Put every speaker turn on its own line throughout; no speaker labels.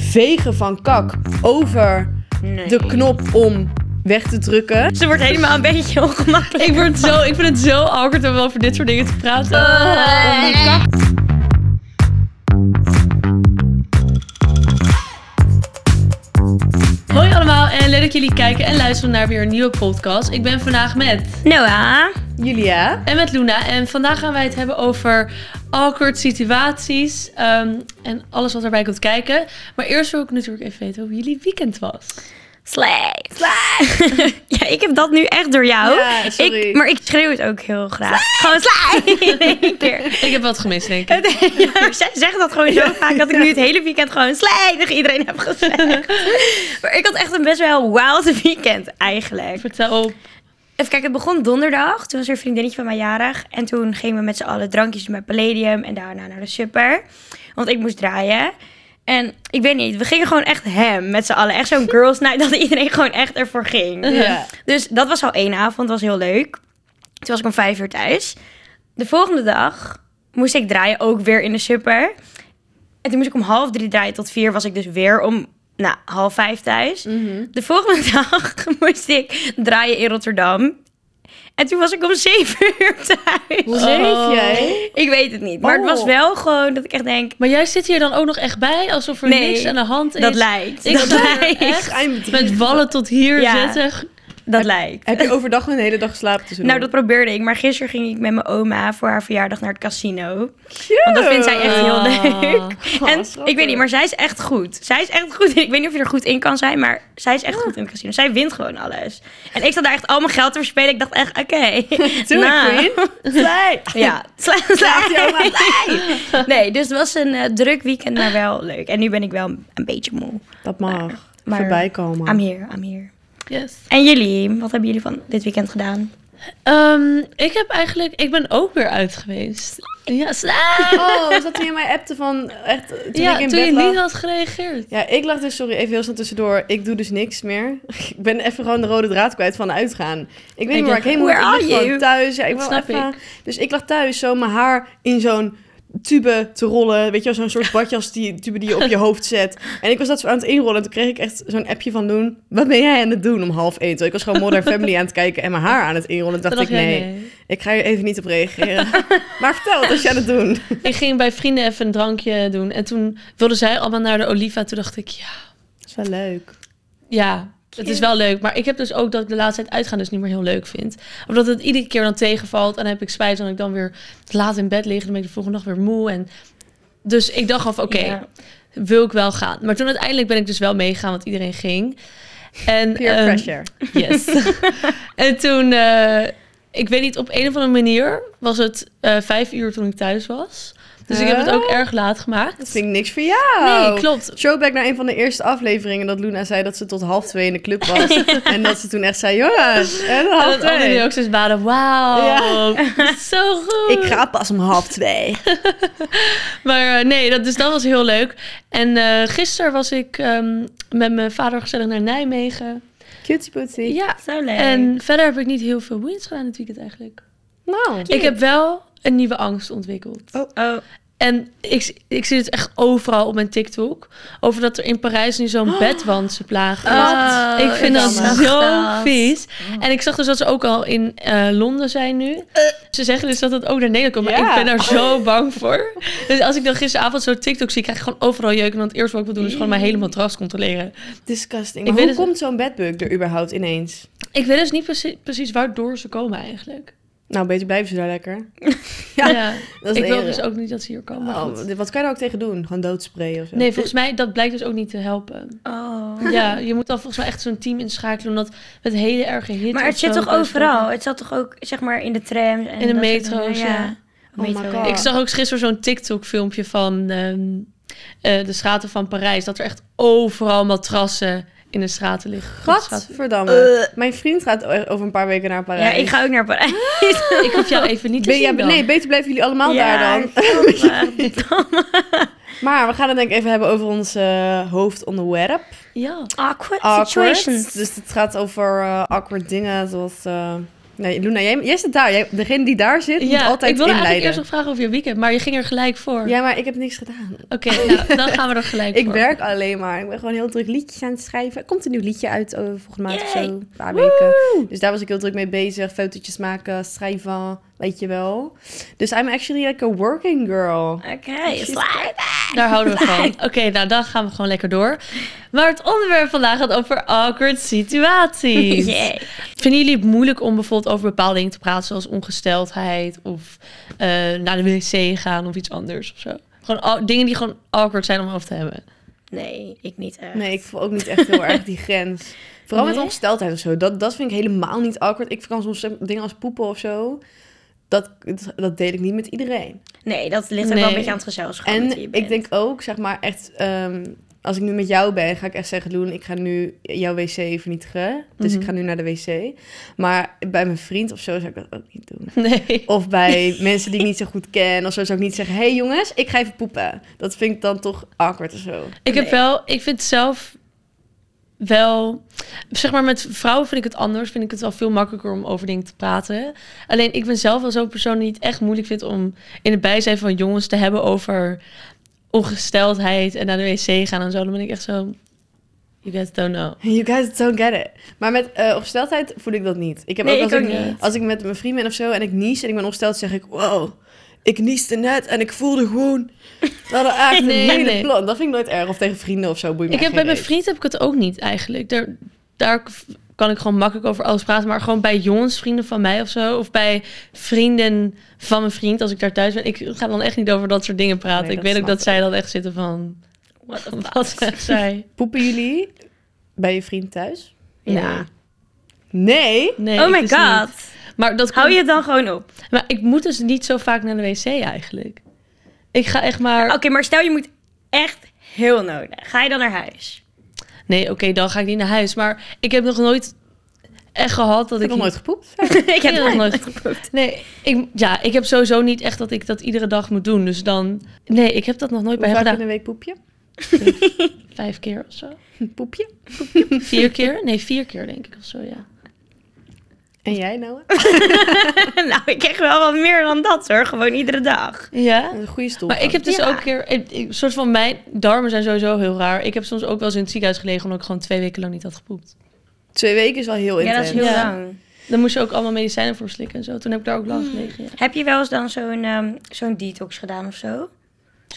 vegen van kak over
Nee.
de knop om weg te drukken.
Ze wordt helemaal een beetje ongemakkelijk.
Ik, word zo, ik vind het zo awkward om over dit soort dingen te praten.
Eh.
Hoi allemaal en leuk dat jullie kijken en luisteren naar weer een nieuwe podcast. Ik ben vandaag met
Noah.
Julia,
en met Luna en vandaag gaan wij het hebben over awkward situaties ehm, en alles wat erbij komt kijken. Maar eerst wil ik natuurlijk even weten hoe jullie weekend was.
Slay. ja, ik heb dat nu echt door jou.
Ja, sorry.
Ik, maar ik schreeuw het ook heel graag. Gewoon slay. In één keer.
Ik heb wat gemist denk ik.
Ja, maar zij zeggen dat gewoon zo vaak dat ik nu het hele weekend gewoon slay tegen iedereen heb gezegd. maar ik had echt een best wel wild weekend eigenlijk.
Vertel op.
Even kijken, het begon donderdag. Toen was er een vriendinnetje van mij jarig. En toen gingen we met z'n allen drankjes doen bij Palladium. En daarna naar de super. Want ik moest draaien. En ik weet niet, we gingen gewoon echt hem met z'n allen. Echt zo'n girls night dat iedereen gewoon echt ervoor ging.
Ja.
Dus dat was al één avond, was heel leuk. Toen was ik om vijf uur thuis. De volgende dag moest ik draaien, ook weer in de super. En toen moest ik om half drie draaien tot vier. Was ik dus weer om nou, half vijf thuis. De volgende dag moest ik draaien in Rotterdam. En toen was ik om zeven uur
hoe
thuis. Oh.
leef jij?
Ik weet het niet. Maar het was
Oh.
wel gewoon dat ik echt denk,
Maar jij zit hier dan ook nog echt bij alsof er
Nee,
niks aan de hand is.
dat lijkt.
Ik
dat
zou er
lijkt.
echt
Schijnbedrijf.
met wallen tot hier
Ja.
zitten.
Dat lijkt.
Heb je overdag gewoon een hele dag slaap tussen?
Nou, dat probeerde ik. Maar gisteren ging ik met mijn oma voor haar verjaardag naar het casino. Want dat vindt zij echt heel
Ah.
leuk.
Oh,
en
schattig.
ik weet niet, maar zij is echt goed. Zij is echt goed. Ik weet niet of je er goed in kan zijn, maar zij is echt goed in het casino. Zij wint gewoon alles. En ik zat daar echt al mijn geld te verspelen. Ik dacht echt, oké.
Doe
nou.
ik, Queen. Slay.
Ja, sla-
Slaat die oma.
sla- Nee, dus het was een eh, druk weekend, maar wel leuk. En nu ben ik wel een beetje moe.
Dat mag.
Maar-
Voorbij komen.
I'm here, I'm here.
Yes.
En jullie, wat hebben jullie van dit weekend gedaan?
Ehm, ik heb eigenlijk, ik ben ook weer uit geweest. Ja, sla-
Oh, was dat toen je mij appte van echt eh, toen
ja
ik in
toen
bed
je
lag?
niet had gereageerd.
Ja, ik lag dus, sorry, even heel snel tussendoor. Ik doe dus niks meer. Ik ben even gewoon de rode draad kwijt van uitgaan. Ik weet niet meer waar ik heen moet. Ik
where
lag
are you?
gewoon thuis. Ja, ik
Dat
wil
snap
even- Dus ik lag thuis zo mijn haar in zo'n tube te rollen. Weet je wel, zo'n soort badjas die tube die je op je hoofd zet. En ik was dat zo aan het inrollen. En toen kreeg ik echt zo'n appje van doen. Wat ben jij aan het doen om half één? Terwijl ik was gewoon Modern Family aan het kijken en mijn haar aan het inrollen. Toen dacht ik,
Toen dacht
nee,
jij,
ik ga hier even niet op reageren. maar vertel, wat was je aan het doen?
Ik ging bij vrienden even een drankje doen. En toen wilden zij allemaal naar de Oliva. Toen dacht ik, ja,
Dat is wel leuk.
ja het is wel leuk. Maar ik heb dus ook dat ik de laatste tijd uitgaan dus niet meer heel leuk vind. Omdat het iedere keer dan tegenvalt. En dan heb ik spijt dat ik dan weer te laat in bed lig. Dan ben ik de volgende dag weer moe. En... Dus ik dacht al van, oké,
Ja.
wil ik wel gaan. Maar toen uiteindelijk ben ik dus wel meegegaan, want iedereen ging. En,
Peer
ehm,
pressure.
Yes. en toen, eh, ik weet niet, op een of andere manier was het eh, vijf uur toen ik thuis was. Dus ik heb het ook erg laat
Oh. Dat
gemaakt.
vind ik Oh. niks voor jou.
Nee, klopt.
Showback naar een van de eerste afleveringen dat Luna zei dat ze tot half twee in de club was. en dat ze toen echt zei, jongens, en
En
half
dat anderen
twee.
nu ook zoiets waren, wauw, dat is zo "Oh." goed.
Ik ga pas om half twee.
Maar eh, nee, dat, dus dat was heel leuk. En eh, gisteren was ik ehm, met mijn vader gezellig naar Nijmegen.
Cutie poetsie.
Ja.
Zo leuk.
En verder heb ik niet heel veel boeiends gedaan dit weekend eigenlijk.
Nou.
Ik heb wel een nieuwe angst ontwikkeld.
Oh,
En ik, ik zie het echt overal op mijn TikTok. Over dat er in Parijs nu
Oh.
zo'n bedwantsenplaag is.
Oh,
ik vind
ik
dat
zag
zo
dat.
vies.
Mm.
En ik zag dus dat ze ook al in eh, Londen zijn nu. Ze zeggen dus dat het ook naar Nederland komt. Maar
Eh. Ja. Oh.
ik ben daar zo bang voor. Dus als ik dan gisteravond zo TikTok zie, krijg ik gewoon overal jeuken. Want het eerste wat ik wil doen
Mm.
is gewoon mijn hele matras controleren.
Disgusting.
Ik
Maar
weet dus-
hoe komt
het-
zo'n bedbug er überhaupt ineens?
Ik weet dus niet precie- precies waardoor ze komen eigenlijk.
Nou, beter blijven ze daar lekker.
Ja.
Ja,
Ik
Dat is
wil
leren.
dus ook niet dat ze hier komen. maar goed.
Oh, dit- wat kan je daar ook tegen doen? Gewoon doodsprayen of zo?
Nee, volgens mij dat blijkt dus ook niet te helpen.
oh.
Ja, je moet dan volgens mij echt zo'n team inschakelen. Omdat met hele erge hitte.
Maar het
of
zit
zo
toch
thuis
overal?
komen.
Het zat toch ook, zeg maar, in de trams en
In de
dat soort
metro's,
dingen?
ja.
Oh my
Metro,
God.
Ik zag ook gisteren zo'n TikTok-filmpje van ehm, eh, de straten van Parijs. Dat er echt overal matrassen in de straten liggen. Straten.
Gadverdamme.
Eh.
Mijn vriend gaat o- over een paar weken naar
Ja,
Parijs.
ik ga ook naar Parijs.
Ik hoef jou even niet te
Ben jij-
zien dan.
nee, beter blijven jullie allemaal daar dan.
eh,
Maar we gaan het denk ik even hebben over ons eh, hoofdonderwerp.
Ja.
Awkward
awkward.
situations.
Dus het gaat over eh, awkward dingen zoals eh, Nee, Luna, jij, jij zit daar. Jij, degene die daar zit, moet
Ja,
altijd
ik wilde eigenlijk
inleiden.
eerst nog vragen over je weekend, maar je ging er gelijk voor.
Ja, maar ik heb niks gedaan.
Oké, nou, dan gaan we er gelijk
Ik
voor.
werk alleen maar. Ik ben gewoon heel druk liedjes aan het schrijven. Er komt een nieuw liedje uit eh, volgende maand of zo.
Yay.
Een paar weken. Dus daar was ik heel druk mee bezig. Fotootjes maken, schrijven, weet je wel. Dus I'm actually like a working girl.
Oké, slide.
Daar houden we van. Oké, nou dan gaan we gewoon lekker door. Maar het onderwerp vandaag gaat over awkward situaties.
Yay.
Vinden jullie het moeilijk om bijvoorbeeld over bepaalde dingen te praten, zoals ongesteldheid of eh, naar de wc gaan of iets anders of zo? Gewoon au- dingen die gewoon awkward zijn om over te hebben.
Nee, ik niet eh. echt.
Nee, ik voel ook niet echt heel erg die grens. Vooral met
Nee?
ongesteldheid of zo. Dat, dat vind ik helemaal niet awkward. Ik kan soms dingen als poepen of zo. Dat, dat deel ik niet met iedereen.
Nee, dat ligt ook
Nee.
wel een beetje aan het gezelschap. met wie
En
je
ik
bent.
denk ook, zeg maar, echt... ehm, als ik nu met jou ben, ga ik echt zeggen... Loen, ik ga nu jouw wc vernietigen. Dus ik
Mhm.
ga nu naar de wc. Maar bij mijn vriend of zo zou ik dat ook niet doen.
Nee.
Of bij mensen die ik niet zo goed ken. Of zo zou ik niet zeggen... hey jongens, ik ga even poepen. Dat vind ik dan toch awkward of zo.
Ik heb
Nee.
wel, ik vind zelf wel, zeg maar met vrouwen vind ik het anders. Vind ik het wel veel makkelijker om over dingen te praten. Alleen ik ben zelf wel zo'n persoon die het echt moeilijk vindt om in het bijzijn van jongens te hebben over ongesteldheid en naar de wc gaan en zo. Dan ben ik echt zo, you guys don't know.
You guys don't get it. Maar met eh, ongesteldheid voel ik dat niet. Ik heb
Nee,
ook, als,
ik ook
ik,
niet.
als ik met mijn vriend ben of zo en ik nies en ik ben ongesteld, zeg ik: Wow, ik nieste net en ik voelde gewoon. Dat er eigenlijk
Nee,
een hele
nee.
plan. Dat vind ik nooit erg. Of tegen vrienden of zo. Boeit me
Ik heb,
echt
bij
geen
mijn
reet.
vriend heb ik het ook niet eigenlijk. Daar, daar k- kan ik gewoon makkelijk over alles praten. Maar gewoon bij jongens, vrienden van mij of zo. Of bij vrienden van mijn vriend, als ik daar thuis ben. Ik ga dan echt niet over dat soort dingen praten.
Nee,
ik
dat
weet ook
snap
dat zij dan echt zitten van...
What the fuck?
Wat zegt zij?
Poepen jullie bij je vriend thuis?
Ja.
Nee.
Nee,
oh my
dus niet.
god.
Maar, dat
Hou
komt-
je het dan gewoon op?
maar ik moet dus niet zo vaak naar de wc eigenlijk. Ik ga echt maar...
Oké, maar stel je moet echt heel nodig. Ga je dan naar huis?
Nee, oké, dan ga ik niet naar huis. Maar ik heb nog nooit echt gehad dat
Ik heb
ik...
nog
niet-
nooit gepoept.
ik heb
Ja,
nog nooit
nooit. Nee, ik, ja, ik heb sowieso niet echt dat ik dat iedere dag moet doen. Dus dan... Nee, ik heb dat nog nooit
Hoe
bij hem
vaak in
gedaan.
een week poepje?
Vijf keer of zo.
Poepje?
Vier keer? Nee, vier keer denk ik of zo, ja.
En jij nou?
nou, ik krijg wel wat meer dan dat hoor. Gewoon iedere dag.
Ja?
Een goede stoel.
Maar ik heb dus
Ja.
ook een keer... ik- ik- soort van mijn darmen zijn sowieso heel raar. Ik heb soms ook wel eens in het ziekenhuis gelegen... omdat ik gewoon twee weken lang niet had gepoept.
Twee weken is wel heel
Ja, dat
intens.
is heel
Ja.
lang.
Dan moest je ook allemaal medicijnen voor slikken en zo. Toen heb ik daar ook lang gelegen, ja.
Heb je wel eens dan zo'n ehm, zo'n detox gedaan of zo?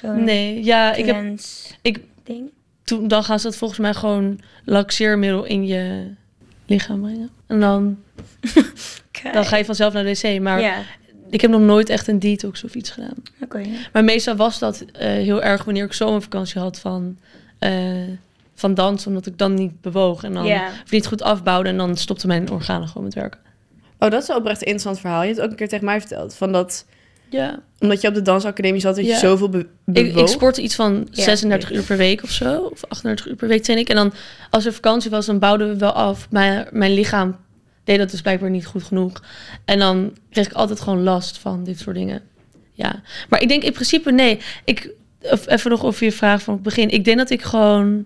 Zo'n
Nee, ja, ik heb...
cleanse
Ik,
ding?
toen, dan gaan ze dat volgens mij gewoon laxeermiddel in je lichaam brengen. En dan,
Oké.
dan ga je vanzelf naar de wc. Maar
Ja,
ik heb nog nooit echt een detox of iets gedaan.
oké.
Maar meestal was dat eh, heel erg wanneer ik zomervakantie had van, eh, van dansen, omdat ik dan niet bewoog en dan
Ja.
of niet goed afbouwde en dan stopte mijn organen gewoon met werken.
Oh, dat is wel oprecht een interessant verhaal. Je hebt het ook een keer tegen mij verteld. Van dat,
Ja.
omdat je op de dansacademie zat, dat je
Ja.
zoveel be
Ik, ik
bewoog.
sportte iets van
Ja,
36 uur per week of zo, of 38 uur per week train ik. En dan als er vakantie was, dan bouwden we wel af. Maar mijn lichaam deed dat dus blijkbaar niet goed genoeg. En dan kreeg ik altijd gewoon last van dit soort dingen. Ja, maar ik denk in principe nee. Ik, of, even nog over je vraag van het begin. Ik denk dat ik gewoon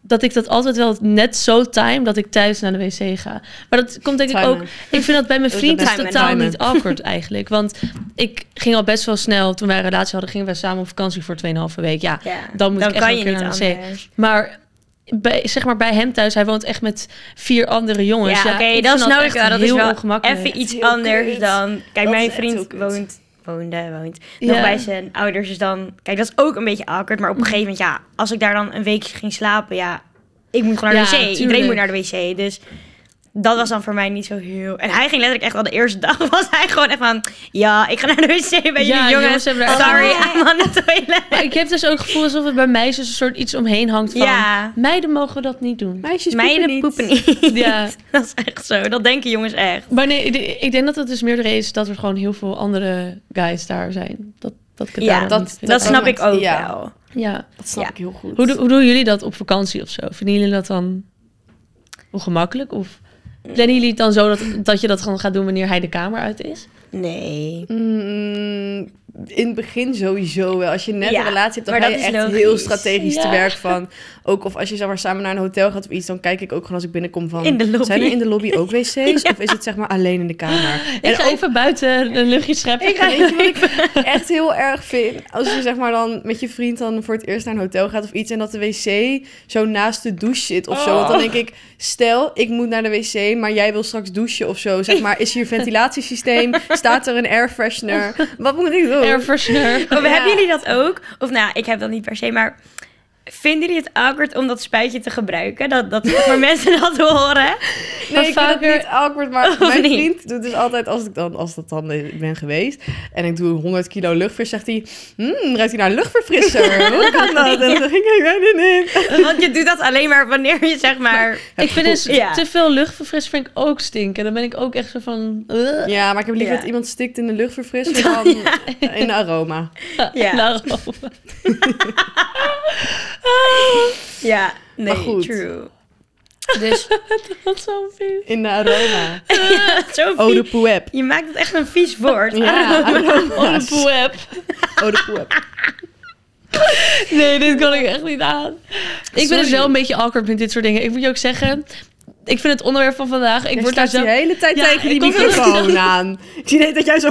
dat ik dat altijd wel net zo time dat ik thuis naar de wc ga. Maar dat komt denk ik
Timen.
ook. Ik vind dat bij mijn
Dat is
vriend
het
is
beste.
totaal
Timen.
niet awkward eigenlijk, want ik ging al best wel snel toen wij een relatie hadden, gingen wij samen op vakantie voor 2,5 week. Ja,
Ja.
dan moet ik echt
kan
wel
je
een
niet
keer naar de wc.
anders.
maar bij, zeg maar bij hem thuis, hij woont echt met vier andere jongens.
Ja, oké,
ik
dat
vind
is nodig.
nou echt
wel. Dat is
heel
wel
ongemakkelijk.
even iets
Heel kut.
anders dan... Kijk,
Dat
mijn
is echt heel
vriend
kut.
woont, woonde, woont nog
Ja.
bij zijn ouders. Dus dan... Kijk, dat is ook een beetje awkward. Maar op een
Mm.
gegeven moment, ja, als ik daar dan een weekje ging slapen... Ja, ik moet gewoon naar de
Ja,
wc. Iedereen
tuurlijk.
moet naar de wc. Dus dat was dan voor mij niet zo heel... En hij ging letterlijk echt al de eerste dag was hij gewoon echt van... Ja, ik ga naar de wc bij jullie
Ja,
jongens.
jongens hebben er-
Sorry,
Oh.
I'm on the toilet.
Maar ik heb dus ook het gevoel alsof het bij meisjes een soort iets omheen hangt van...
Ja.
Meiden mogen dat niet doen.
Meisjes
Meiden poepen niet.
Ja.
Dat is echt zo. Dat denken jongens echt.
Maar nee, ik- ik denk dat het dus meerdere is dat er gewoon heel veel andere guys daar zijn. Dat, dat ik het
Ja,
daarom
dat-
niet vind.
Dat
ook
snap ik
niet.
ook
Ja.
wel.
Ja.
Dat snap
Ja.
ik heel goed.
Hoe, do- hoe doen jullie dat op vakantie of zo? Vinden jullie dat dan ongemakkelijk? Of plannen jullie het dan zo dat, dat je dat gewoon gaat doen wanneer hij de kamer uit is?
Nee.
Mm, in het begin sowieso wel. Als je net
Ja,
een relatie hebt, dan
maar
ga je
dat is
echt
logisch.
heel strategisch te
Ja.
werk van. Ook of als je zeg maar, samen naar een hotel gaat of iets, dan kijk ik ook gewoon als ik binnenkom van...
In de lobby.
Zijn er in de lobby ook wc's? Of is het zeg maar alleen in de kamer?
Ik ga even buiten een luchtje scheppen.
Ik ga weet je wat ik echt heel erg vind. Als je zeg maar dan met je vriend dan voor het eerst naar een hotel gaat of iets en dat de wc zo naast de douche zit of zo. Want dan denk ik, stel ik moet naar de wc, maar jij wil straks douchen of zo. Zeg maar, is hier ventilatiesysteem? Staat er een air freshener? Wat moet ik doen?
Air freshener.
Oh,
Ja.
Hebben jullie dat ook? Of nou, ik heb dat niet per se, maar vinden jullie het awkward om dat spuitje te gebruiken? Dat, dat zeg maar mensen dat horen?
Nee, ik vind
vaker-
het niet awkward, maar
Of
mijn
niet?
vriend doet dus altijd, als, ik dan, als dat dan ik ben geweest en ik doe 100 kilo luchtvis, zegt hij, hmm, ruikt hij naar luchtverfrisser? Hoe kan dat? En dan denk ik, ik weet het niet.
Want je doet dat alleen maar wanneer je zeg maar...
Ik vind dus
Ja.
te veel luchtverfrissing vind ik ook stinken. Dan ben ik ook echt zo van... eh,
Ja, maar ik heb liever
Ja.
dat iemand stikt in de luchtverfrisser dan in de aroma.
Ja.
daarom.
Ja, nee,
Maar goed.
true. Dus,
Wat zo'n vies.
In de aroma.
Sophie,
Eau Oh, de poep.
je maakt het echt een vies woord.
Ja,
Oh, Ah. de
aroma's.
poep.
Eau de poep.
Nee, dit kan ik echt niet aan. Ik ben
Sorry.
dus wel een beetje awkward met dit soort dingen. Ik moet je ook zeggen, ik vind het onderwerp van vandaag... Ik
Ik
word
word
daar
staat
zo...
de hele tijd
Ja,
tegen die
ik kom er-
microfoon aan. Ik zie net dat jij zo...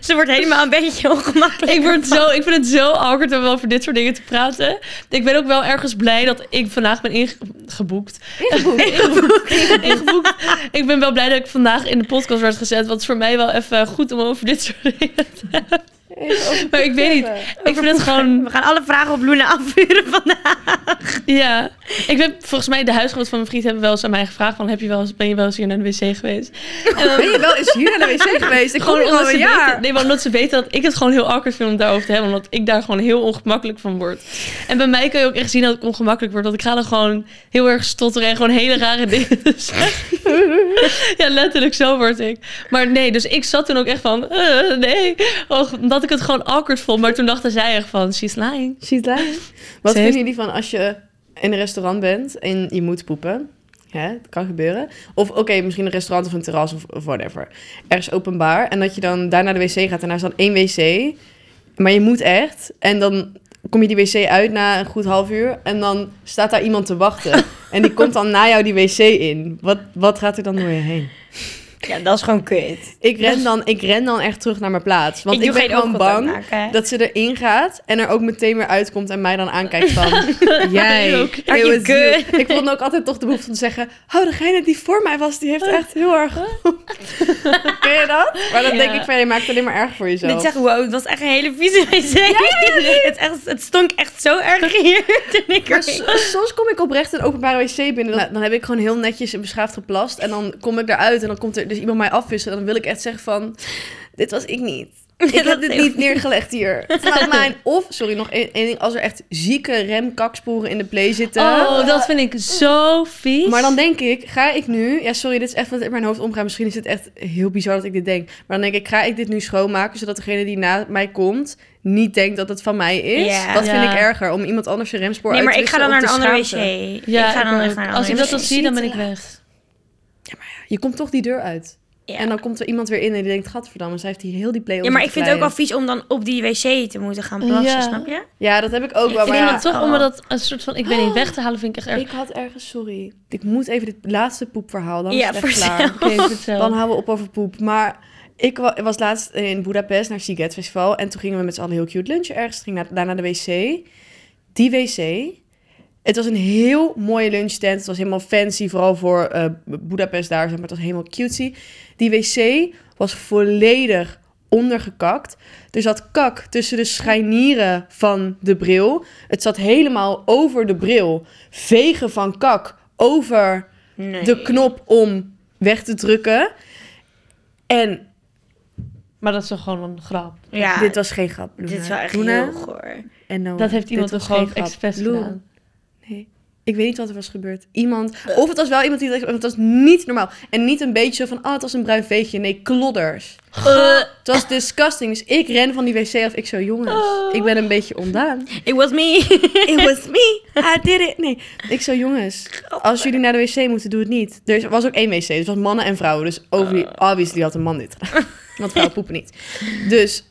Ze wordt helemaal een beetje ongemakkelijk.
Ik, word zo, ik vind het zo awkward om over dit soort dingen te praten. Ik ben ook wel ergens blij dat ik vandaag ben ingeboekt. Ingeboekt. ingeboekt. Ik ben wel blij dat ik vandaag in de podcast werd gezet. Want het is voor mij wel even goed om over dit soort dingen te hebben. Maar ik weet niet. Ik vind het gewoon...
We gaan alle vragen op Luna afvuren vandaag.
Ja. Ik ben volgens mij de huisgenoot van mijn vriend hebben wel eens aan mij gevraagd. Van, heb je wel eens, ben je wel eens hier naar de wc geweest?
Ben je wel eens hier naar de wc geweest? Ik kom
Ehm, Gewoon
hier
omdat
al
ze,
een
weten,
jaar.
nee, maar omdat ze weten dat ik het gewoon heel awkward vind om het daarover te hebben. Omdat ik daar gewoon heel ongemakkelijk van word. En bij mij kan je ook echt zien dat ik ongemakkelijk word. Want ik ga dan gewoon heel erg stotteren en gewoon hele rare dingen zeggen. ja, letterlijk zo word ik. Maar nee, dus ik zat toen ook echt van, eh, nee. Och, Omdat ik het gewoon awkward vond. Maar toen dachten zij echt van, she's lying.
She's lying. Wat
Ze
vinden
heeft-
jullie van als je in een restaurant bent en je moet poepen? Hè, dat kan gebeuren. Of oké, misschien een restaurant of een terras of, of whatever. Ergens openbaar. En dat je dan daar naar de wc gaat en daar is dan één wc. Maar je moet echt. En dan kom je die wc uit na een goed half uur. En dan staat daar iemand te wachten. en die komt dan na jou die wc in. Wat, wat gaat er dan door je heen?
Ja, dat is gewoon kut.
Ik ren dan, ik ren dan echt terug naar mijn plaats. Want ik,
doe
ben
geen
gewoon
oogcontact
bang
maken, hè.
dat ze erin gaat en er ook meteen weer uitkomt en mij dan aankijkt van... Jij,
Ook.
it
Are you
was you.
good?
Ik vond ook altijd toch de behoefte om te zeggen... Oh, degene die voor mij was, die heeft echt heel erg... Ken je dat? Maar dan denk
Ja.
ik van, je maakt het alleen maar erg voor jezelf.
Dit zegt, wow, het was echt een hele vieze wc. het, echt, het stonk echt zo erg hier toen ik
Maar
er
so- soms kom ik oprecht een openbare wc binnen. Dan, dan heb ik gewoon heel netjes en beschaafd geplast. En dan kom ik eruit en dan komt er dus iemand mij afwissen. En dan wil ik echt zeggen van... Dit was ik niet. Ik heb dit niet neergelegd hier. Het laat mij een- Of, sorry, nog één één ding. Als er echt zieke remkaksporen in de play zitten.
Oh, dat vind ik zo vies.
Maar dan denk ik, ga ik nu... Ja, sorry, dit is echt wat in mijn hoofd omgaat. Misschien is het echt heel bizar dat ik dit denk. Maar dan denk ik, ga ik dit nu schoonmaken... zodat degene die na mij komt... niet denkt dat het van mij is?
Ja.
Dat vind
Ja.
ik erger. Om iemand anders je remspoor
Nee,
uit
maar
te
ik ga dan naar
wisselen
een
om te
andere wc.
schaamte.
ik ga dan
ook.
echt naar een
Als
andere
ik dat
wc.
dan zie, dan ben ik weg.
Je komt toch die deur uit.
Ja.
En dan komt er iemand weer in en die denkt... gadverdamme, zij heeft hier heel die play
Ja, maar
om
ik
te
vind het ook wel
kleien."
vies om dan op die wc te moeten gaan plassen,
Ja.
snap je?
Ja, dat heb ik ook
Ik
wel.
vind
Maar ja,
Maar toch, om
Oh.
dat een soort van, ik ben niet weg te halen, vind ik echt erg.
ik had ergens... Sorry, ik moet even dit laatste poepverhaal... dan
Ja,
is het
voor
echt klaar.
zelf.
Oké, vertel.
Dan houden we op over poep. Maar ik wa- was laatst in Budapest naar Siget Festival. En toen gingen we met z'n allen heel cute lunchen ergens. Ging naar, daar naar de wc. Die wc. Het was een heel mooie lunchtent. Het was helemaal fancy. Vooral voor eh Budapest daar. zeg Maar het was helemaal cutesy. Die wc was volledig ondergekakt. Er zat kak tussen de scharnieren van de bril. Het zat helemaal over de bril. Vegen van kak over
Nee.
de knop om weg te drukken. En
Maar dat is toch gewoon een grap.
ja,
dit was geen grap, Luna.
dit is wel echt
Luna
heel goor.
en Noah,
Dat heeft
dit
iemand
was
toch gewoon
geen grap.
expres
Lou,
gedaan.
Nee. Ik weet niet wat er was gebeurd. Iemand. Of het was wel iemand die het echt. want Het was niet normaal. En niet een beetje zo van. Ah, het was een bruin veegje. Nee, klodders.
Eh,
Het was disgusting. Dus ik ren van die wc af. Ik zo, jongens.
Oh.
Ik ben een beetje ontdaan.
It was me.
It was me. I did it. Nee. Ik zo, jongens. Als jullie naar de wc moeten, doe het niet. Er was ook één wc. Dus het was mannen en vrouwen. Dus obvi- obviously had een man dit gedaan. Want vrouwen poepen niet. Dus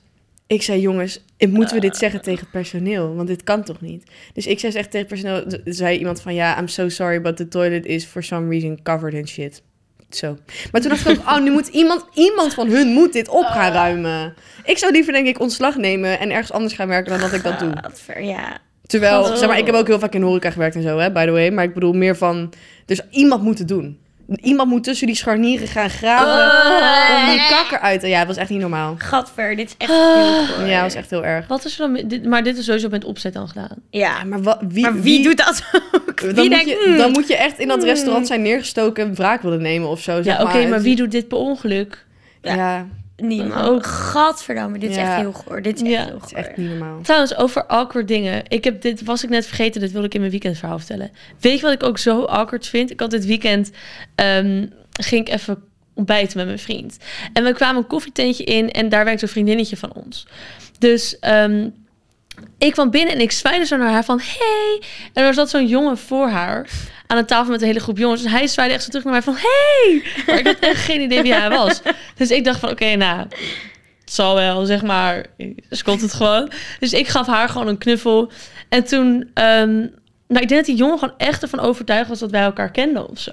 ik zei, jongens, moeten we dit zeggen tegen personeel? Want dit kan toch niet? Dus ik zei echt tegen personeel. d- zei iemand van, ja, I'm so sorry, but the toilet is for some reason covered in shit. Zo. Maar toen dacht ik ook, oh, nu moet iemand, iemand van hun moet dit op gaan ruimen. Ik zou liever, denk ik, ontslag nemen en ergens anders gaan werken dan dat ik dat doe.
Gadver, ja.
Terwijl,
Oh.
zeg maar, ik heb ook heel vaak in de horeca gewerkt en zo, hè, by the way. Maar ik bedoel meer van, dus iemand moet het doen. Iemand moet tussen die scharnieren gaan graven
Oh.
om die kakker uit te... Ja, het was echt niet normaal.
Gadver, dit is echt
Ah.
heel goor.
Ja, het was echt heel erg.
Wat is er dan... met- Dit, maar dit is sowieso met opzet dan gedaan.
Ja,
Ja,
maar, wa- wie,
maar wie, doet dat ook?
dan,
wie
moet
denkt,
je,
"Hmm,
dan moet je echt in dat restaurant zijn neergestoken en wraak willen nemen of zo, zeg
Ja, oké,
Het-
maar wie doet dit per ongeluk?
Ja,
niemand.
Ook.
Gadverdamme, dit is
Ja.
echt heel goor. Dit is
Ja,
echt heel
het
goor.
is echt niet normaal.
Trouwens, over awkward dingen. Ik heb dit, was ik net vergeten, dit wilde ik in mijn weekendverhaal vertellen. Weet je wat ik ook zo awkward vind? Ik had dit weekend, ehm, ging ik even ontbijten met mijn vriend. En we kwamen een koffietentje in en daar werkte een vriendinnetje van ons. Dus ehm, ik kwam binnen en ik zwaaide zo naar haar van... Hey! En er zat zo'n jongen voor haar aan een tafel met een hele groep jongens. En hij zwaaide echt zo terug naar mij van... Hey! Maar ik had echt geen idee wie hij was. Dus ik dacht van, oké, nou... Het zal wel, zeg maar. Ze komt het gewoon. Dus ik gaf haar gewoon een knuffel. En toen... ehm, nou, ik denk dat die jongen gewoon echt ervan overtuigd was dat wij elkaar kenden of zo.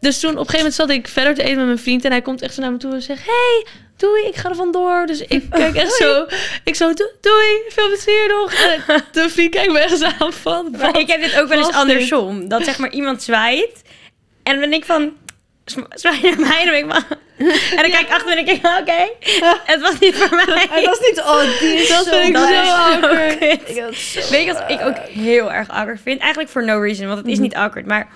Dus toen op een gegeven moment zat ik verder te eten met mijn vriend. En hij komt echt zo naar me toe en zegt... Hey, doei, ik ga er vandoor. Dus ik kijk echt zo... Ik zo, "Doe- doei, veel plezier nog. En de vriend kijkt me echt zo aan van...
Maar
"Wat
ik heb dit ook wel eens
was dit?"
andersom. Dat zeg maar iemand zwaait. En dan ben ik van... "Zwa- Zwaai naar mij. Dan ben ik van... En dan kijk ik achter me en denk ik... Oké, het was niet voor mij.
Het was niet... Oh, die is
Dat
zo...
vind ik
Dat
zo
is
awkward. Ah.
kut.
Ik had zo-
Weet je wat ik ook heel erg awkward vind? Eigenlijk voor no reason, want het
Mhm.
is niet awkward. Maar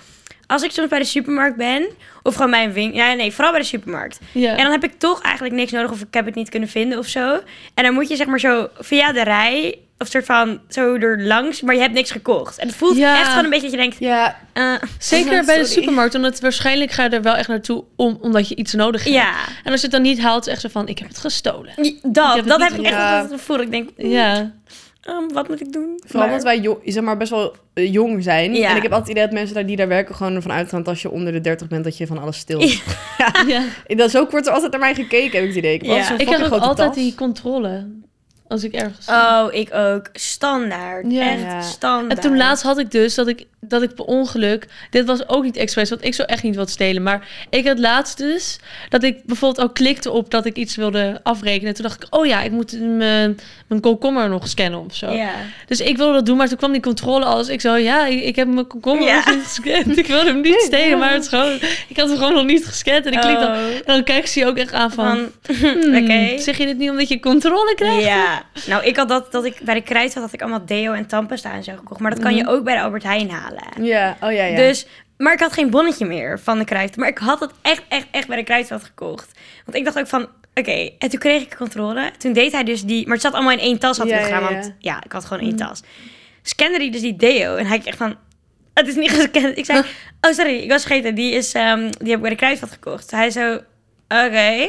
als ik soms bij de supermarkt ben... Of gewoon mijn winkel... Ja, nee, vooral bij de supermarkt.
Ja.
En dan heb ik toch eigenlijk niks nodig of ik heb het niet kunnen vinden of zo. En dan moet je zeg maar zo via de rij of soort van zo er langs, maar je hebt niks gekocht. En het voelt
Ja.
echt gewoon een beetje dat je denkt,
Ja,
eh,
Zeker bij de
Sorry.
supermarkt, omdat waarschijnlijk ga je er wel echt naartoe om, omdat je iets nodig hebt.
ja.
En als je het dan niet haalt, is het echt zo van, ik heb het gestolen.
Dat,
het
dat
niet
heb ik echt
gedaan.
altijd het gevoel. dat Ik denk,
Ja.
ehm, wat moet ik doen?
Vooral
Maar-
omdat wij jong, zeg maar, best wel eh, jong zijn.
Ja.
En ik heb altijd het idee dat mensen daar, die daar werken gewoon ervan uitgaan dat als je onder de 30 bent, dat je van alles stil is.
ja.
Dat Zo wordt er altijd naar mij gekeken, heb ik het idee. Ik, heb
Ja.
altijd zo'n
Ik krijg
fucking
ook
grote
altijd
tas.
die controle als ik ergens sta.
Oh, ik ook. Standaard.
Ja.
Ja.
Echt standaard.
En toen laatst had ik dus dat ik, dat ik per ongeluk. Dit was ook niet expres, want ik zou echt niet wat stelen. Maar ik had laatst dus dat ik bijvoorbeeld al klikte op dat ik iets wilde afrekenen. En toen dacht ik, oh ja, ik moet mijn, mijn komkommer nog scannen of zo.
Ja.
Dus ik wilde dat doen, maar toen kwam die controle alles. Ik zo, ja, ik, ik heb mijn komkommer
Ja.
nog niet gescand. Ik wilde hem niet stelen, maar het is gewoon, ik had hem gewoon nog niet gescand. En ik klik dan.
Oh,
En dan kijkt ze je ook echt aan van,
van,
hmm,
oké.
zeg je dit niet omdat je controle krijgt?
Ja, nou ik had dat, dat ik bij de kruid had, had ik allemaal deo en tandpasta en zo gekocht. Maar dat kan
Mhm.
je ook bij de Albert Heijn halen.
Ja, oh ja, ja.
Dus, maar ik had geen bonnetje meer van de kruid. Maar ik had het echt, echt, echt bij de kruidvat gekocht. Want ik dacht ook van, oké. En toen kreeg ik controle. Toen deed hij dus die... Maar het zat allemaal in één tas, had
Ja,
hij het
ja,
gedaan.
ja. Mhm.
Want ja, ik had gewoon één tas. Scande hij dus die deo. En hij keek echt van, het is niet gescand. Ik zei, oh sorry, ik was vergeten. Die, is, ehm, die heb ik bij de kruidvat gekocht. Hij zo, oké.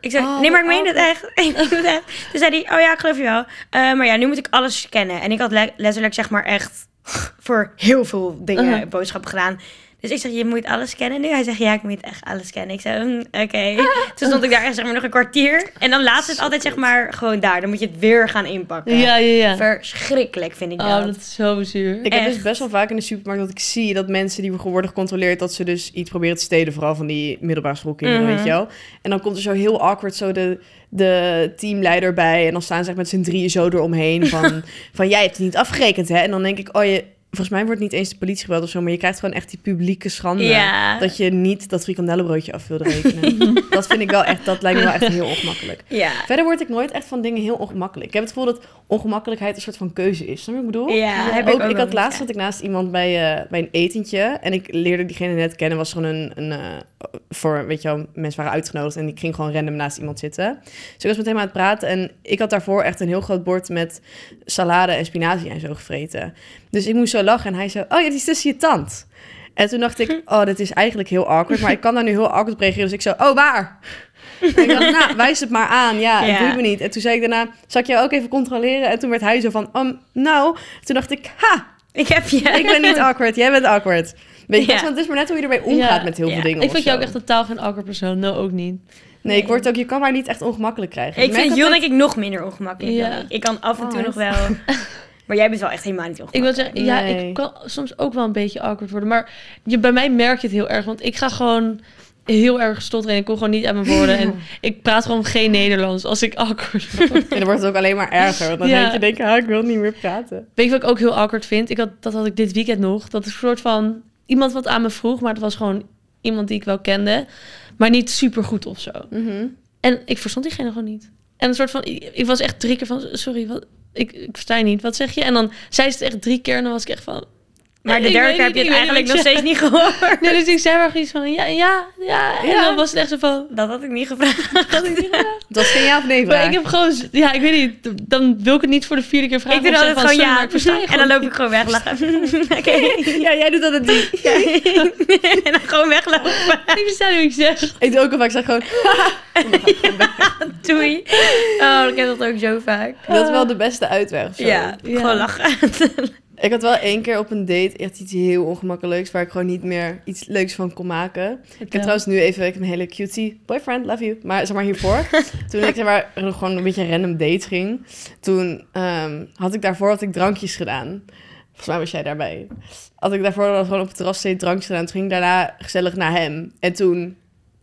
Ik zei,
Oh,
nee, maar ik
wat
meen het echt. Ik meen het echt. Toen zei hij, oh ja, ik geloof je wel. Eh, maar ja, nu moet ik alles scannen. En ik had le- letterlijk zeg maar echt voor heel veel dingen
Uh-huh.
boodschappen gedaan. Dus ik zeg, je moet alles scannen nu. Hij zegt, ja, ik moet echt alles scannen. Ik zei, "Mm, oké. Toen stond ik daar echt zeg maar nog een kwartier. En dan laat ze het altijd zeg maar gewoon daar. Dan moet je het weer gaan inpakken.
ja, ja. ja.
Verschrikkelijk vind ik dat.
Oh, dat is zo zuur.
ik heb dus
echt.
best wel vaak in de supermarkt dat ik zie dat mensen die worden gecontroleerd, dat ze dus iets proberen te stelen, vooral van die middelbare schoolkinderen,
Mhm.
weet je wel. En dan komt er zo heel awkward zo de, de teamleider bij en dan staan ze echt met z'n drieën zo eromheen van, van jij hebt het niet afgerekend, hè? En dan denk ik, oh je, volgens mij wordt niet eens de politie gebeld of zo, maar je krijgt gewoon echt die publieke schande.
ja.
Dat je niet dat frikandellenbroodje af wilde rekenen. dat vind ik wel echt, dat lijkt me wel echt heel ongemakkelijk.
ja.
Verder word ik nooit echt van dingen heel ongemakkelijk. Ik heb het gevoel dat ongemakkelijkheid een soort van keuze is. Snap je wat ik bedoel?
Ja, heb
Oh,
ik
ook,
ook
ik
wel
had
eens,
laatst
ja.
zat ik naast iemand bij, eh, bij een etentje. En ik leerde diegene net kennen. Was gewoon een. een eh, voor, weet je wel, mensen waren uitgenodigd. En ik ging gewoon random naast iemand zitten. Dus ik was meteen aan het praten. En ik had daarvoor echt een heel groot bord met salade en spinazie en zo gevreten. Dus ik moest zo lachen en hij zei, oh ja, die is tussen je tand. En toen dacht ik, oh, dit is eigenlijk heel awkward, maar ik kan daar nu heel awkward op reageren. Dus ik zo, oh, waar? En ik dacht, nou, wijs het maar aan. Ja,
Ja.
het doet me niet. En toen zei ik daarna, zal ik jou ook even controleren? En toen werd hij zo van, um, nou. Toen dacht ik, ha,
Ik heb je.
ik ben niet awkward, jij bent awkward. Weet je,
Ja.
dus want het is maar net hoe je ermee omgaat
Ja.
met heel
Ja.
veel dingen.
Ik vind
of zo.
jou ook echt totaal geen awkward persoon. Nou, ook niet.
Nee, ik word ook, je kan mij niet echt ongemakkelijk krijgen.
Ik
merk
vind
altijd-
Jul denk ik nog minder ongemakkelijk
Ja.
dan ik. Ik kan af en toe
Oh,
nog wel... Maar jij bent wel echt helemaal niet
Ik wil
ongemakkelijk.
zeggen, ja,
Nee.
ik kan soms ook wel een beetje awkward worden. Maar je, bij mij merk je het heel erg. Want ik ga gewoon heel erg stotteren. En ik kom gewoon niet uit mijn woorden. En ik praat gewoon geen Nederlands als ik awkward word.
En dan wordt het ook alleen maar erger. Want dan
Ja.
denk je, denk, ik, ah, ik wil niet meer praten.
Weet je wat ik ook heel awkward vind? Ik had, dat had ik dit weekend nog. Dat is een soort van iemand wat aan me vroeg. Maar het was gewoon iemand die ik wel kende. Maar niet super goed of zo. En ik verstond diegene gewoon niet. En een soort van, ik, ik was echt drie keer van, sorry, wat, ik, ik versta je niet. Wat zeg je? En dan zei ze het echt drie keer en dan was ik echt van...
Maar de
ik
derde
weet
keer heb je
niet,
het
ik weet
eigenlijk nog
niet wat
steeds niet gehoord.
ik zei. Nee, dus ik zei maar iets van, ja, ja, ja. En
Ja.
dan was het echt zo van...
Dat had ik niet gevraagd.
Wat ik,
Dat ging ja of nee
maar
vraag.
ik heb gewoon, ja, ik weet niet, dan wil ik het niet voor de vierde keer vragen.
Ik doe
of
altijd
zeggen
gewoon
van, sorry,
ja.
maar ik versta je
En dan
gewoon
loop ik gewoon weg lachen. Oké.
Ja, jij doet altijd die.
en dan gewoon weglopen.
niet. Ik versta niet wat ik zeg.
Ik doe ook al vaak, ik zeg gewoon...
Doei. Oh, ik heb dat ook zo vaak.
Dat is wel de beste uitweg of zo.
Ja,
Ja.
gewoon lachen.
Ik had wel één keer op een date echt iets heel ongemakkelijks... waar ik gewoon niet meer iets leuks van kon maken. Ik heb trouwens nu even ik heb een hele cutie boyfriend, love you. Maar zeg maar hiervoor, toen ik zeg maar gewoon een beetje een random date ging... toen ehm, had ik daarvoor had ik drankjes gedaan. Volgens mij was jij daarbij. Had ik daarvoor was gewoon op het terras steeds drankjes gedaan. Toen ging ik daarna gezellig naar hem. En toen...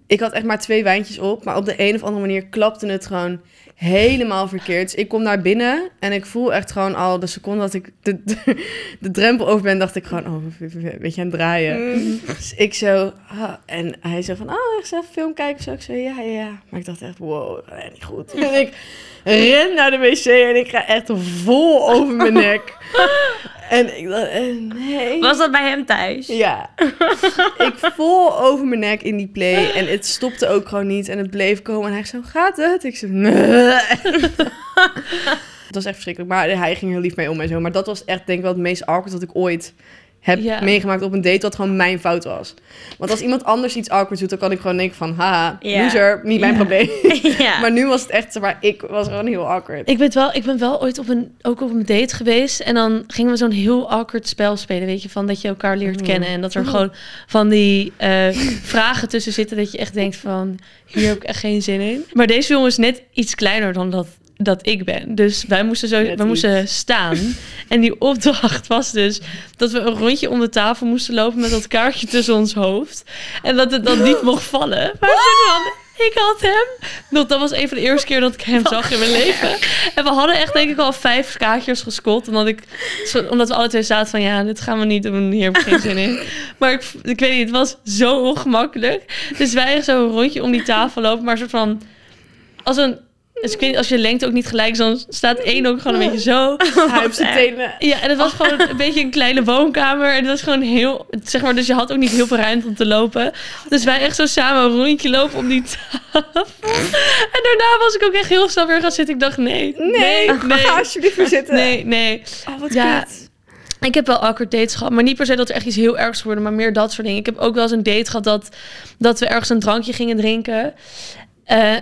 Ik had echt maar twee wijntjes op, maar op de een of andere manier klapte het gewoon helemaal verkeerd. Dus ik kom daar binnen en ik voel echt gewoon al de seconde dat ik de, de, de drempel over ben, dacht ik gewoon, oh, een beetje aan het
Mm.
draaien. Dus ik zo, ah, en hij zo van, oh, echt zelf film kijken? Zo, ik zo, ja, ja, ja. Maar ik dacht echt, wow, dat gaat echt niet goed. En ik ren naar de wc en ik ga echt vol over mijn nek. En ik dacht, eh, nee.
Was dat bij hem thuis?
Ja. ik vol over mijn nek in die play. En het stopte ook gewoon niet. En het bleef komen. En hij zo, gaat het? Ik zo, nee. Het was echt verschrikkelijk. Maar hij ging heel lief mee om en zo. Maar dat was echt denk ik wel het meest awkward dat ik ooit heb
Ja.
meegemaakt op een date. Wat gewoon mijn fout was. Want als iemand anders iets awkward doet, dan kan ik gewoon denken van... Haha,
Ja.
loser, niet mijn
Ja.
probleem.
ja.
maar nu was het echt, zeg maar ik was gewoon heel awkward.
Ik, weet wel, ik ben wel ooit op een, ook op een date geweest. En dan gingen we zo'n heel awkward spel spelen. Weet je, van dat je elkaar leert kennen. En dat er gewoon van die eh, vragen tussen zitten. Dat je echt denkt van, hier heb ik echt geen zin in. Maar deze jongen is net iets kleiner dan dat, dat ik ben. Dus wij moesten, zo,
Net
wij moesten staan. En die opdracht was dus dat we een rondje om de tafel moesten lopen met dat kaartje tussen ons hoofd. En dat het dan niet mocht vallen. Maar soort van, ik had hem. Want dat was een van de eerste keer dat ik hem zag in mijn leven. En we hadden echt denk ik al vijf kaartjes gescot. Omdat, ik, zo- omdat we alle twee zaten van ja, dit gaan we niet doen. Hier heb ik geen zin in. Maar ik, ik weet niet, het was zo ongemakkelijk. Dus wij echt zo een rondje om die tafel lopen. Maar soort van, als een... Dus ik weet niet, als je lengte ook niet gelijk is, dan staat één ook gewoon een beetje zo.
Hij heeft zijn
erg.
tenen...
Ja, en het was gewoon een beetje een kleine woonkamer. En dat was gewoon heel, zeg maar, dus je had ook niet heel veel ruimte om te lopen. Dus wij echt zo samen een rondje lopen om die tafel. En daarna was ik ook echt heel snel weer gaan zitten. Ik dacht, nee,
Nee, Ah,
nee, nee,
ga alsjeblieft weer zitten.
nee, nee.
Oh, wat
Ja.
kut.
Ik heb wel awkward dates gehad, maar niet per se dat er echt iets heel ergs gebeurde, maar meer dat soort dingen. Ik heb ook wel eens een date gehad dat, dat we ergens een drankje gingen drinken. Eh,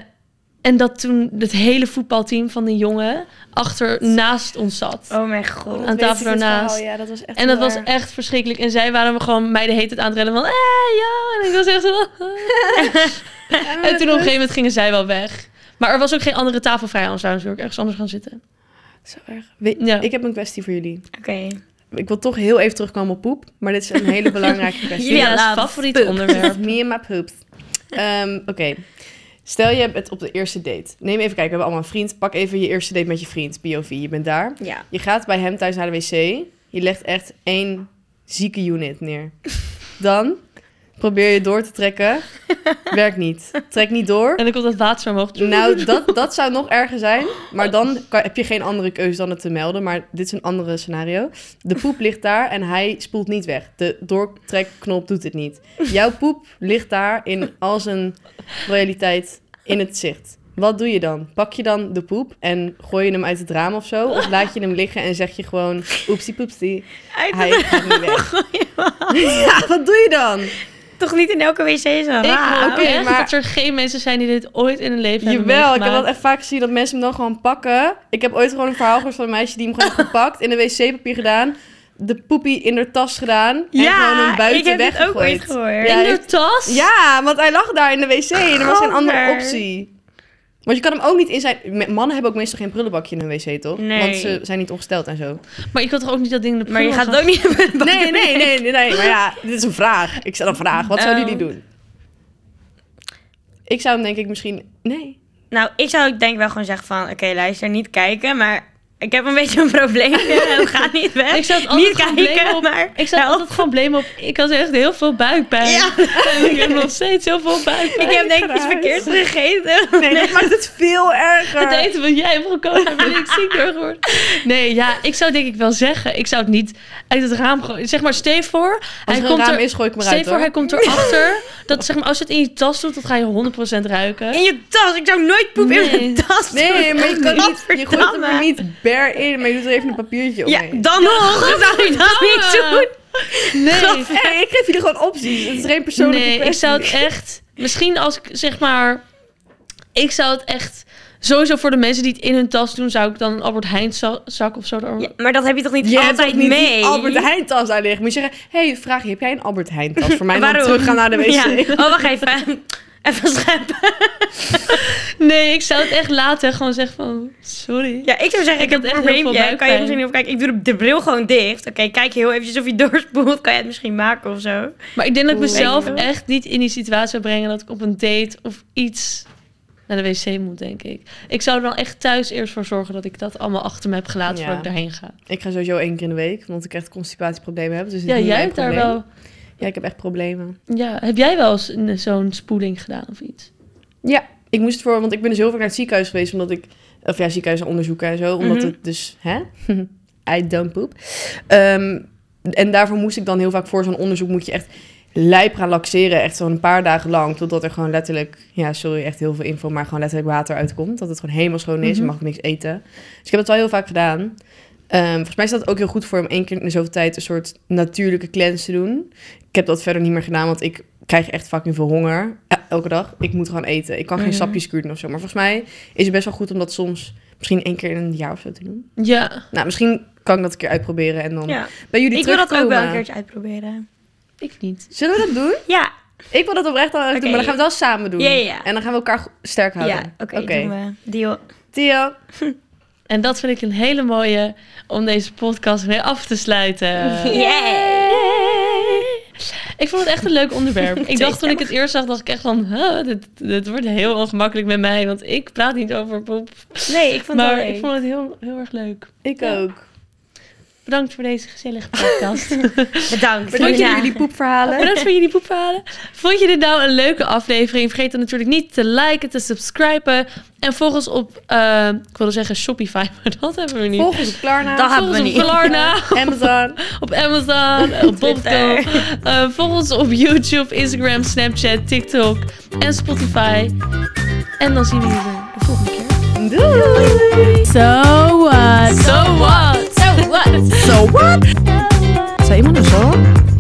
en dat toen het hele voetbalteam van de jongen achter naast ons zat.
Oh mijn god.
Aan
Weet ik
tafel
dit verhaal,
ernaast.
Ja, dat was echt
En dat
heel
was
erg.
echt verschrikkelijk. En zij waren me gewoon meiden heet het aan het rennen van... Hé, ja. En ik was echt zo...
Eh,
en toen op een gegeven moment gingen zij wel weg. Maar er was ook geen andere tafel vrij, anders zouden ze ook ergens anders gaan zitten.
Zo erg. We-
Ja.
Ik heb een kwestie voor jullie.
Oké.
Ik wil toch heel even terugkomen op poep, maar dit is een hele belangrijke kwestie.
Jullie
Julia's
laat
favoriete
poep.
onderwerp.
Me and my poops. Ehm, Oké. Stel je bent op de eerste date. Neem even kijken, we hebben allemaal een vriend. Pak even je eerste date met je vriend, BOV. Je bent daar.
Ja.
Je gaat bij hem thuis naar de wc. Je legt echt één zieke unit neer. Dan probeer je door te trekken. Werkt niet. Trek niet door.
En dan komt dat water zo omhoog.
Nou, dat, dat zou nog erger zijn. Maar dan kan, heb je geen andere keuze dan het te melden. Maar dit is een andere scenario. De poep ligt daar en hij spoelt niet weg. De doortrekknop doet het niet. Jouw poep ligt daar in al zijn loyaliteit in het zicht. Wat doe je dan? Pak je dan de poep en gooi je hem uit het raam of zo? Of laat je hem liggen en zeg je gewoon oepsie poepsie,
Uit
hij
het-
gaat niet weg. ja, wat doe je dan?
Toch niet in elke wc is een
Ik
raam.
hoop
Ah, oké,
echt
maar-
dat er geen mensen zijn die dit ooit in hun leven hebben
Jawel, ik heb
meegemaakt.
dat echt vaak gezien dat mensen hem dan gewoon pakken. Ik heb ooit gewoon een verhaal gehoord van een meisje die hem gewoon heeft gepakt, in de wc-papier gedaan, de poepie in haar tas gedaan en gewoon hem buiten
ik heb dit ook
weggegooid.
ooit gehoord.
Ja,
In
hij-
de tas?
Ja, want hij lag daar in de wc en er was geen andere
Gadver.
optie. Want je kan hem ook niet in zijn... me- Mannen hebben ook meestal geen prullenbakje in hun wc, toch?
Nee.
Want ze zijn niet ongesteld en zo.
Maar ik had toch ook niet dat ding in de
Maar je
prullenbak
gaat het ook niet hebben.
Nee, nee, nee, nee, nee. Maar ja, dit is een vraag. Ik stel een vraag. Wat zouden jullie doen? Ik zou hem denk ik misschien... Nee.
Nou, ik zou denk ik wel gewoon zeggen van... Oké, luister, niet kijken, maar... Ik heb een beetje een probleem. Het gaat niet weg.
Ik zou het altijd
niet
gewoon
kijken,
blamen op-
maar...
Ik zat
help.
altijd gewoon blamen op. Ik had echt heel veel buikpijn.
Ja.
En ik heb nog steeds heel veel buikpijn.
Ik heb denk ik iets
Eruit.
verkeerds gegeten.
Nee, dat maakt het veel erger.
Het eten wat jij hebt gekookt, ben ik zieker geworden. Nee, ja, ik zou denk ik wel zeggen. Ik zou het niet uit het raam gooien. Zeg maar, steef voor.
Als er een raam is, gooi ik hem
steef
eruit,
voor, hij
hoor.
komt erachter. Dat zeg maar, als je het in je tas doet, dat ga je 100% ruiken.
In je tas. Ik zou nooit poep in
Nee.
mijn tas doen.
Nee, maar je, kan niet, je gooit hem
Gadverdamme.
er niet bare in, maar je doet er even een papiertje
Ja,
omheen.
dan nog zou ik dat niet doen.
Nee.
Hey, ik geef jullie gewoon opties. Het is geen persoonlijke
Nee, ik
kwestie.
zou het echt. Misschien als ik zeg maar. Ik zou het echt. Sowieso voor de mensen die het in hun tas doen, zou ik dan een Albert Heijn za- zak of zo. Er...
Ja, maar dat heb je toch niet
Je hebt
altijd
ook niet
mee?
die Albert Heijn tas daar liggen. Moet je zeggen, hé, hey, vraag, je, heb jij een Albert Heijn tas voor mij? En Dan
Waarom?
terug gaan naar de wc.
Ja. Oh, wacht even. Even scheppen.
Nee, ik zou het echt laten. Gewoon zeggen van. Sorry.
Ja, ik zou zeggen, ik,
had
heb een
echt heel veel
probleempje. Kan je
buikpijn.
er misschien even kijken? Ik doe de, de bril gewoon dicht. Oké, kijk heel eventjes of je doorspoelt. Kan je het misschien maken of zo?
Maar ik denk dat ik
Oeh.
mezelf
Weet je wel.
echt niet in die situatie zou brengen dat ik op een date of iets naar de wc moet, denk ik. Ik zou er dan echt thuis eerst voor zorgen dat ik dat allemaal achter me heb gelaten
Ja.
voordat ik daarheen ga.
Ik ga sowieso één keer in de week, want ik echt constipatieproblemen heb. Dus het is
Ja,
niet
jij
mijn
hebt daar
probleem.
wel.
Ja, ik heb echt problemen.
Ja, heb jij wel eens een- zo'n spoeling gedaan of iets?
Ja, ik moest voor, want ik ben dus heel vaak naar het ziekenhuis geweest, omdat ik, of ja, ziekenhuis onderzoeken en zo, omdat
Mhm.
het dus, hè, I don't poop. Ehm, en daarvoor moest ik dan heel vaak voor zo'n onderzoek moet je echt lijp gaan laxeren, echt zo'n paar dagen lang, totdat er gewoon letterlijk, ja, sorry, echt heel veel info, maar gewoon letterlijk water uitkomt, dat het gewoon helemaal schoon is, je
Mhm.
mag ook niks eten. Dus ik heb het wel heel vaak gedaan. Ehm, volgens mij is dat ook heel goed voor om één keer in de zoveel tijd een soort natuurlijke cleanse te doen. Ik heb dat verder niet meer gedaan, want ik krijg echt fucking veel honger. Ja, elke dag. Ik moet gewoon eten. Ik kan geen
Mhm.
sapjes kuren of zo. Maar volgens mij is het best wel goed om dat soms misschien één keer in een jaar of zo te doen.
Ja.
Nou, misschien kan ik dat een keer uitproberen en dan
Ja.
bij jullie
Ik wil dat ook wel een
terugkomen.
keertje uitproberen.
Ik niet.
Zullen we dat doen?
Ja,
Ik wil dat oprecht al doen, maar dan gaan we het wel samen doen.
Ja, ja, ja.
En dan gaan we elkaar go- sterk houden.
ja. oké, doen we. Deal.
Theo,
En dat vind ik een hele mooie om deze podcast mee af te sluiten. Ik vond het echt een leuk onderwerp. Ik dacht toen ik het eerst zag, dacht ik echt van... huh, dit, dit wordt heel ongemakkelijk met mij, want ik praat niet over poep.
Nee, ik vond
Maar
het wel
ik vond het heel, heel erg leuk.
ik
Ja.
ook.
Bedankt voor deze gezellige podcast.
leuk. Bedankt.
Vond je
Ja.
jullie poepverhalen?
Bedankt voor jullie poephalen. Vond je dit nou een leuke aflevering? Vergeet dan natuurlijk niet te liken, te subscriben. En volg ons op, eh, ik wilde zeggen Shopify, maar dat hebben we niet.
Volg ons op Klarna.
Dag.
Volg
hebben
ons
we
op
niet.
Klarna.
Amazon.
op Amazon, op Bobco.
Twitter.
Eh, volg ons op YouTube, Instagram, Snapchat, TikTok en Spotify. En dan zien we jullie weer de volgende keer.
Doei.
So what?
So what?
So what? Zou iemand een zo?